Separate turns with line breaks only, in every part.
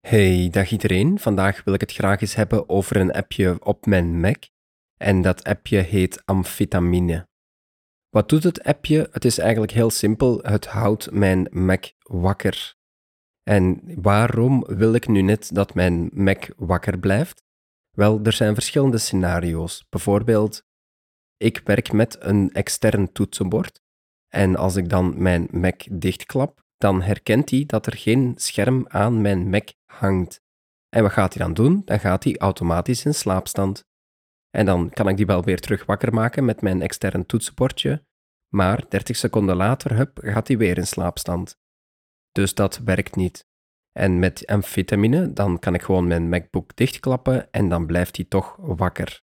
Hey, dag iedereen. Vandaag wil ik het graag eens hebben over een appje op mijn Mac. En dat appje heet Amphetamine. Wat doet het appje? Het is eigenlijk heel simpel. Het houdt mijn Mac wakker. En waarom wil ik nu net dat mijn Mac wakker blijft? Wel, er zijn verschillende scenario's. Bijvoorbeeld, ik werk met een extern toetsenbord. En als ik dan mijn Mac dichtklap, dan herkent hij dat er geen scherm aan mijn Mac hangt. En wat gaat hij dan doen? Dan gaat hij automatisch in slaapstand. En dan kan ik die wel weer terug wakker maken met mijn extern toetsenbordje, maar 30 seconden later hup, gaat hij weer in slaapstand. Dus dat werkt niet. En met amfetamine, dan kan ik gewoon mijn MacBook dichtklappen en dan blijft hij toch wakker.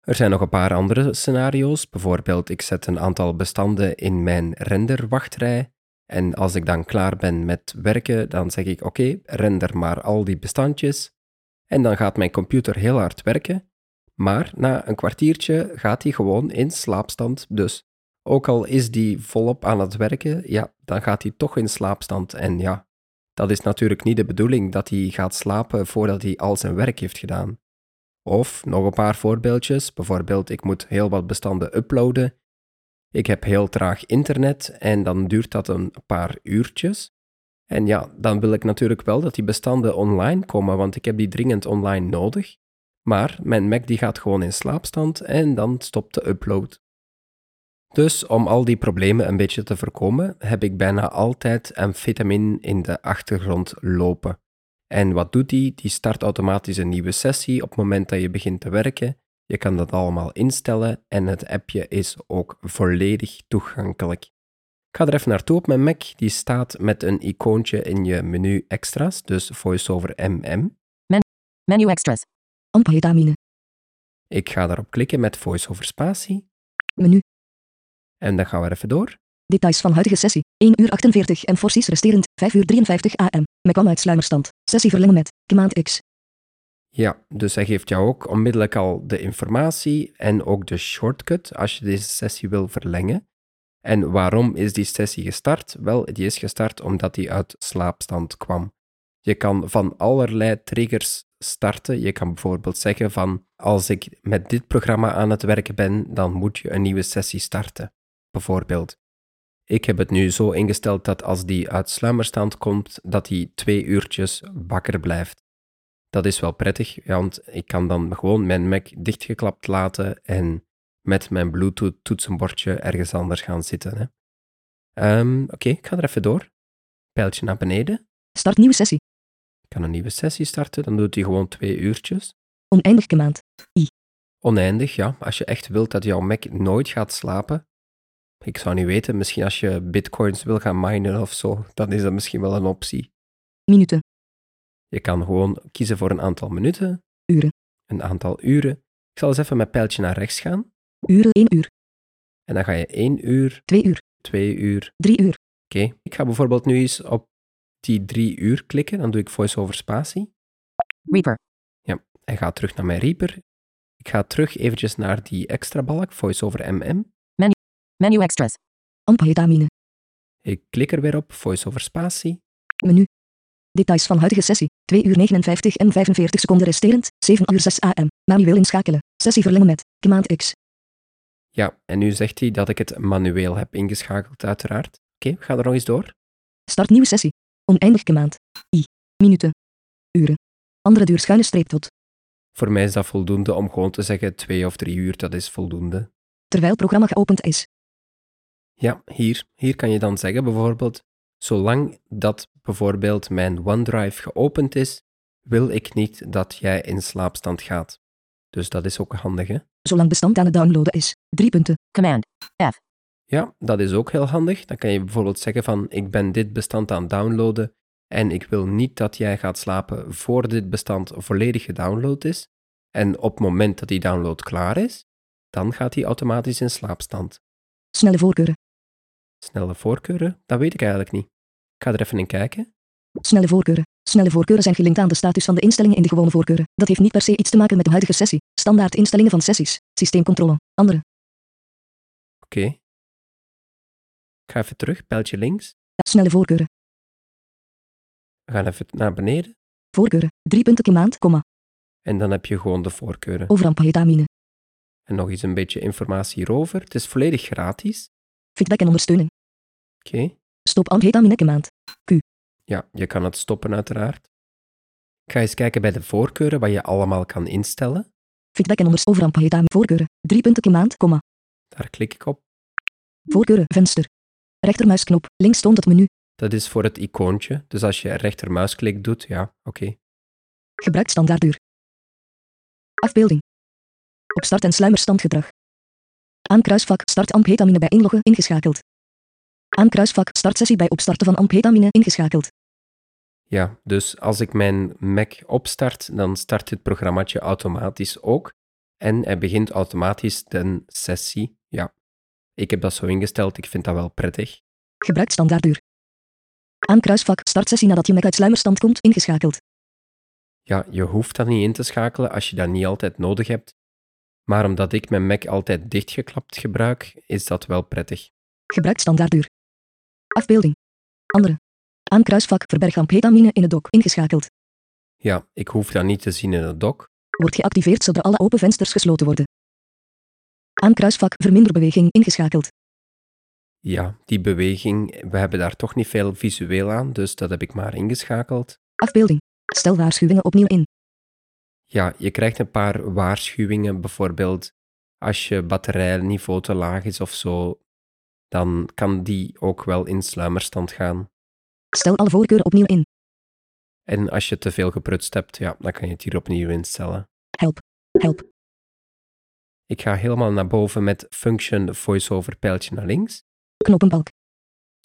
Er zijn nog een paar andere scenario's. Bijvoorbeeld, ik zet een aantal bestanden in mijn renderwachtrij. En als ik dan klaar ben met werken, dan zeg ik: Oké, render maar al die bestandjes. En dan gaat mijn computer heel hard werken. Maar na een kwartiertje gaat hij gewoon in slaapstand. Dus ook al is die volop aan het werken, ja, dan gaat hij toch in slaapstand. En ja, dat is natuurlijk niet de bedoeling dat hij gaat slapen voordat hij al zijn werk heeft gedaan. Of nog een paar voorbeeldjes. Bijvoorbeeld, ik moet heel wat bestanden uploaden. Ik heb heel traag internet en dan duurt dat een paar uurtjes. En ja, dan wil ik natuurlijk wel dat die bestanden online komen, want ik heb die dringend online nodig. Maar mijn Mac die gaat gewoon in slaapstand en dan stopt de upload. Dus om al die problemen een beetje te voorkomen, heb ik bijna altijd amfetamine in de achtergrond lopen. En wat doet die? Die start automatisch een nieuwe sessie op het moment dat je begint te werken. Je kan dat allemaal instellen en het appje is ook volledig toegankelijk. Ik ga er even naartoe op mijn Mac. Die staat met een icoontje in je menu extra's, dus VoiceOver MM.
Menu extras. Amphetamine.
Ik ga daarop klikken met VoiceOver spatie
Menu.
en dan gaan we er even door.
Details van huidige sessie. 1 uur 48 en forsies resterend. 5 uur 53 am. Met kwam uit sluimerstand. Sessie verlengen met. Command X.
Ja, dus hij geeft jou ook onmiddellijk al de informatie en ook de shortcut als je deze sessie wil verlengen. En waarom is die sessie gestart? Wel, die is gestart omdat die uit slaapstand kwam. Je kan van allerlei triggers starten. Je kan bijvoorbeeld zeggen van als ik met dit programma aan het werken ben, dan moet je een nieuwe sessie starten. Bijvoorbeeld. Ik heb het nu zo ingesteld dat als die uit sluimerstand komt, dat die twee uurtjes wakker blijft. Dat is wel prettig, ja, want ik kan dan gewoon mijn Mac dichtgeklapt laten en met mijn Bluetooth-toetsenbordje ergens anders gaan zitten. hè. Ehm, Oké, ik ga er even door. Pijltje naar beneden.
Start nieuwe sessie.
Ik kan een nieuwe sessie starten, dan doet hij gewoon twee uurtjes.
Oneindig command.
Oneindig, ja. Als je echt wilt dat jouw Mac nooit gaat slapen. Ik zou niet weten, misschien als je bitcoins wil gaan minen of zo, dan is dat misschien wel een optie.
Minuten.
Je kan gewoon kiezen voor een aantal minuten.
Uren.
Een aantal uren. Ik zal eens even mijn pijltje naar rechts gaan.
Uren 1 uur.
En dan ga je 1 uur,
2 uur.
2 uur.
3 uur.
Oké, ik ga bijvoorbeeld nu eens op die 3 uur klikken. Dan doe ik voice-over spatie.
Reaper.
Hij gaat terug naar mijn Reaper. Ik ga terug eventjes naar die extra balk, voice-over MM.
Menu extras. Amphetamine.
Ik klik er weer op, voice-over spatie.
Menu. Details van huidige sessie. 2 uur 59 en 45 seconden resterend. 7 uur 6 am. Manueel inschakelen. Sessie verlengen met. Command X.
Ja, en nu zegt hij dat ik het manueel heb ingeschakeld, uiteraard. Oké, we gaan er nog eens door.
Start nieuwe sessie. Oneindig command. I. Minuten. Uren. Andere duur schuine streep tot.
Voor mij is dat voldoende om gewoon te zeggen twee of drie uur, dat is voldoende.
Terwijl programma geopend is.
Ja, hier. Hier kan je dan zeggen bijvoorbeeld, zolang dat bijvoorbeeld mijn OneDrive geopend is, wil ik niet dat jij in slaapstand gaat. Dus dat is ook handig, hè?
Zolang bestand aan het downloaden is. Drie punten. Command.
Ja, dat is ook heel handig. Dan kan je bijvoorbeeld zeggen van ik ben dit bestand aan het downloaden en ik wil niet dat jij gaat slapen voor dit bestand volledig gedownload is. En op het moment dat die download klaar is, dan gaat die automatisch in slaapstand.
Snelle voorkeuren.
Snelle voorkeuren, dat weet ik eigenlijk niet. Ik ga er even in kijken.
Snelle voorkeuren. Snelle voorkeuren zijn gelinkt aan de status van de instellingen in de gewone voorkeuren. Dat heeft niet per se iets te maken met de huidige sessie. Standaard instellingen van sessies. Systeemcontrole. Andere.
Oké. Ik ga even terug, pijltje links.
Snelle voorkeuren.
We We gaan even naar beneden
Voorkeuren. Drie punten per maand, comma.
en dan heb je gewoon de voorkeuren.
Overampahetamine.
En nog eens een beetje informatie hierover. Het is volledig gratis.
Feedback en ondersteuning.
Oké.
Stop amphetamine per maand.
Ja, je kan het stoppen uiteraard. Ik ga eens kijken bij de voorkeuren wat je allemaal kan instellen.
Feedback en onders overampahetamine. Voorkeuren. Drie punten per maand, comma.
Daar klik ik op.
Voorkeuren. Venster. Rechtermuisknop. Links toont het menu.
Dat is voor het icoontje. Dus als je rechtermuisklik doet, ja, oké.
Gebruik standaarduur. Afbeelding. Op start- en sluimerstandgedrag. Aankruisvak start amphetamine bij inloggen ingeschakeld. Aankruisvak startsessie bij opstarten van amphetamine ingeschakeld.
Ja, dus als ik mijn Mac opstart, dan start dit programmaatje automatisch ook. En hij begint automatisch de sessie. Ja, ik heb dat zo ingesteld. Ik vind dat wel prettig.
Gebruik standaarduur. Aankruisvak startsessie nadat je Mac uit sluimerstand komt ingeschakeld.
Ja, je hoeft dat niet in te schakelen als je dat niet altijd nodig hebt. Maar omdat ik mijn Mac altijd dichtgeklapt gebruik, is dat wel prettig.
Gebruik standaarduur. Afbeelding. Andere. Aankruisvak verberg amphetamine in het dock ingeschakeld.
Ja, ik hoef dat niet te zien in het dock.
Wordt geactiveerd zodra alle open vensters gesloten worden. Aankruisvak verminder beweging ingeschakeld.
Ja, die beweging, we hebben daar toch niet veel visueel aan, dus dat heb ik maar ingeschakeld.
Afbeelding. Stel waarschuwingen opnieuw in.
Ja, je krijgt een paar waarschuwingen, bijvoorbeeld als je batterijniveau te laag is of zo, dan kan die ook wel in sluimerstand gaan.
Stel alle voorkeuren opnieuw in.
En als je te veel geprutst hebt, ja, dan kan je het hier opnieuw instellen.
Help. Help.
Ik ga helemaal naar boven met function voiceover pijltje naar links.
Knoppenbalk.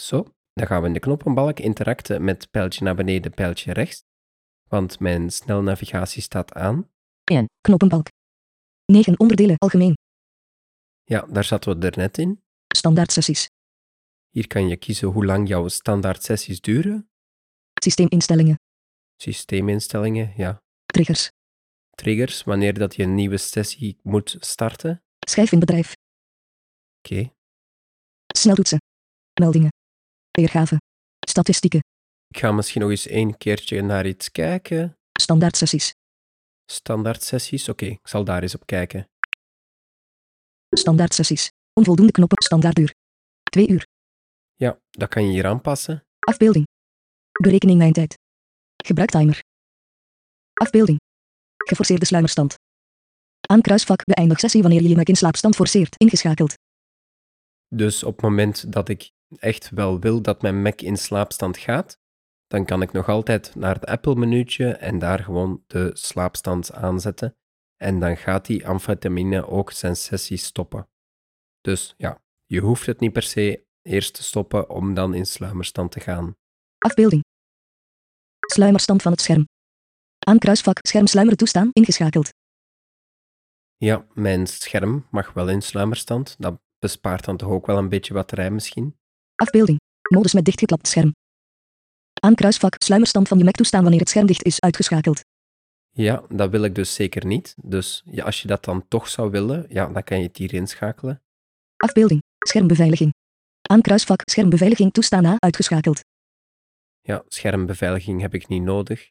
Zo, dan gaan we in de knoppenbalk interacten met pijltje naar beneden, pijltje rechts. Want mijn snelnavigatie staat aan.
En. Knoppenbalk. 9 onderdelen algemeen.
Ja, daar zaten we er net in.
Standaard sessies.
Hier kan je kiezen hoe lang jouw standaard sessies duren.
Systeeminstellingen.
Systeeminstellingen, ja.
Triggers.
Triggers, wanneer dat je een nieuwe sessie moet starten.
Schijf in bedrijf.
Oké,
Sneltoetsen. Meldingen. Weergave. Statistieken.
ik ga misschien nog eens één keertje naar iets kijken.
Standaard sessies.
Standaard sessies, oké, ik zal daar eens op kijken.
Standaard sessies. Onvoldoende knoppen. Standaarduur. 2 uur.
Ja, dat kan je hier aanpassen.
Afbeelding. Berekening mijn tijd. Gebruik timer. Afbeelding. Geforceerde sluimerstand. Aankruisvak beëindig sessie wanneer je je Mac in slaapstand forceert. Ingeschakeld.
Dus op het moment dat ik echt wel wil dat mijn Mac in slaapstand gaat, dan kan ik nog altijd naar het Apple-menuutje en daar gewoon de slaapstand aanzetten. En dan gaat die amfetamine ook zijn sessie stoppen. Dus ja, je hoeft het niet per se eerst te stoppen om dan in sluimerstand te gaan.
Afbeelding. Sluimerstand van het scherm. Aankruisvak schermsluimeren toestaan. Ingeschakeld.
Ja, mijn scherm mag wel in sluimerstand. Dat bespaart dan toch ook wel een beetje batterij misschien.
Afbeelding. Modus met dichtgeklapt scherm. Aankruisvak sluimerstand van je Mac toestaan wanneer het scherm dicht is. Uitgeschakeld.
Ja, dat wil ik dus zeker niet. Dus ja, als je dat dan toch zou willen, ja, dan kan je het hier inschakelen.
Afbeelding. Schermbeveiliging. Aankruisvak schermbeveiliging toestaan na. Uitgeschakeld.
Ja, schermbeveiliging heb ik niet nodig.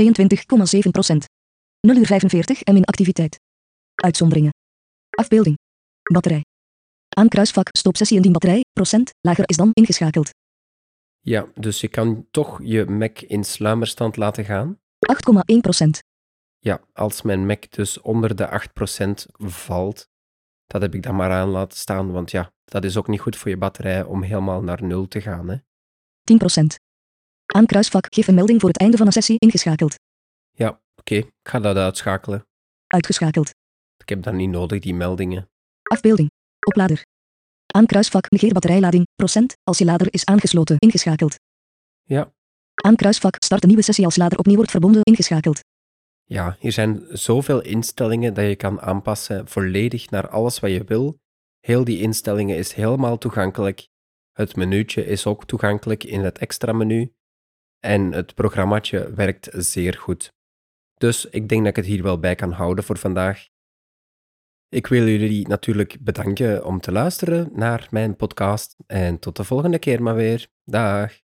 22,7 procent. 0 uur 45 en in activiteit. Uitzonderingen. Afbeelding. Batterij. Aankruisvak stopsessie indien batterij, procent, lager is dan ingeschakeld.
Ja, dus je kan toch je Mac in sluimerstand laten gaan.
8,1 procent.
Ja, als mijn Mac dus onder de 8% valt, dat heb ik dan maar aan laten staan, want ja, dat is ook niet goed voor je batterij om helemaal naar nul te gaan. Hè?
10 procent. Aankruisvak geef een melding voor het einde van een sessie ingeschakeld.
Ja, oké, ik ga dat uitschakelen.
Uitgeschakeld.
Ik heb dat niet nodig, die meldingen.
Afbeelding. Oplader. Aankruisvak negeer batterijlading, procent, als je lader is aangesloten ingeschakeld.
Ja.
Aankruisvak start een nieuwe sessie als lader opnieuw wordt verbonden ingeschakeld.
Ja, hier zijn zoveel instellingen dat je kan aanpassen, volledig naar alles wat je wil. Heel die instellingen is helemaal toegankelijk. Het menuutje is ook toegankelijk in het extra menu. En het programmaatje werkt zeer goed. Dus ik denk dat ik het hier wel bij kan houden voor vandaag. Ik wil jullie natuurlijk bedanken om te luisteren naar mijn podcast. En tot de volgende keer maar weer. Dag.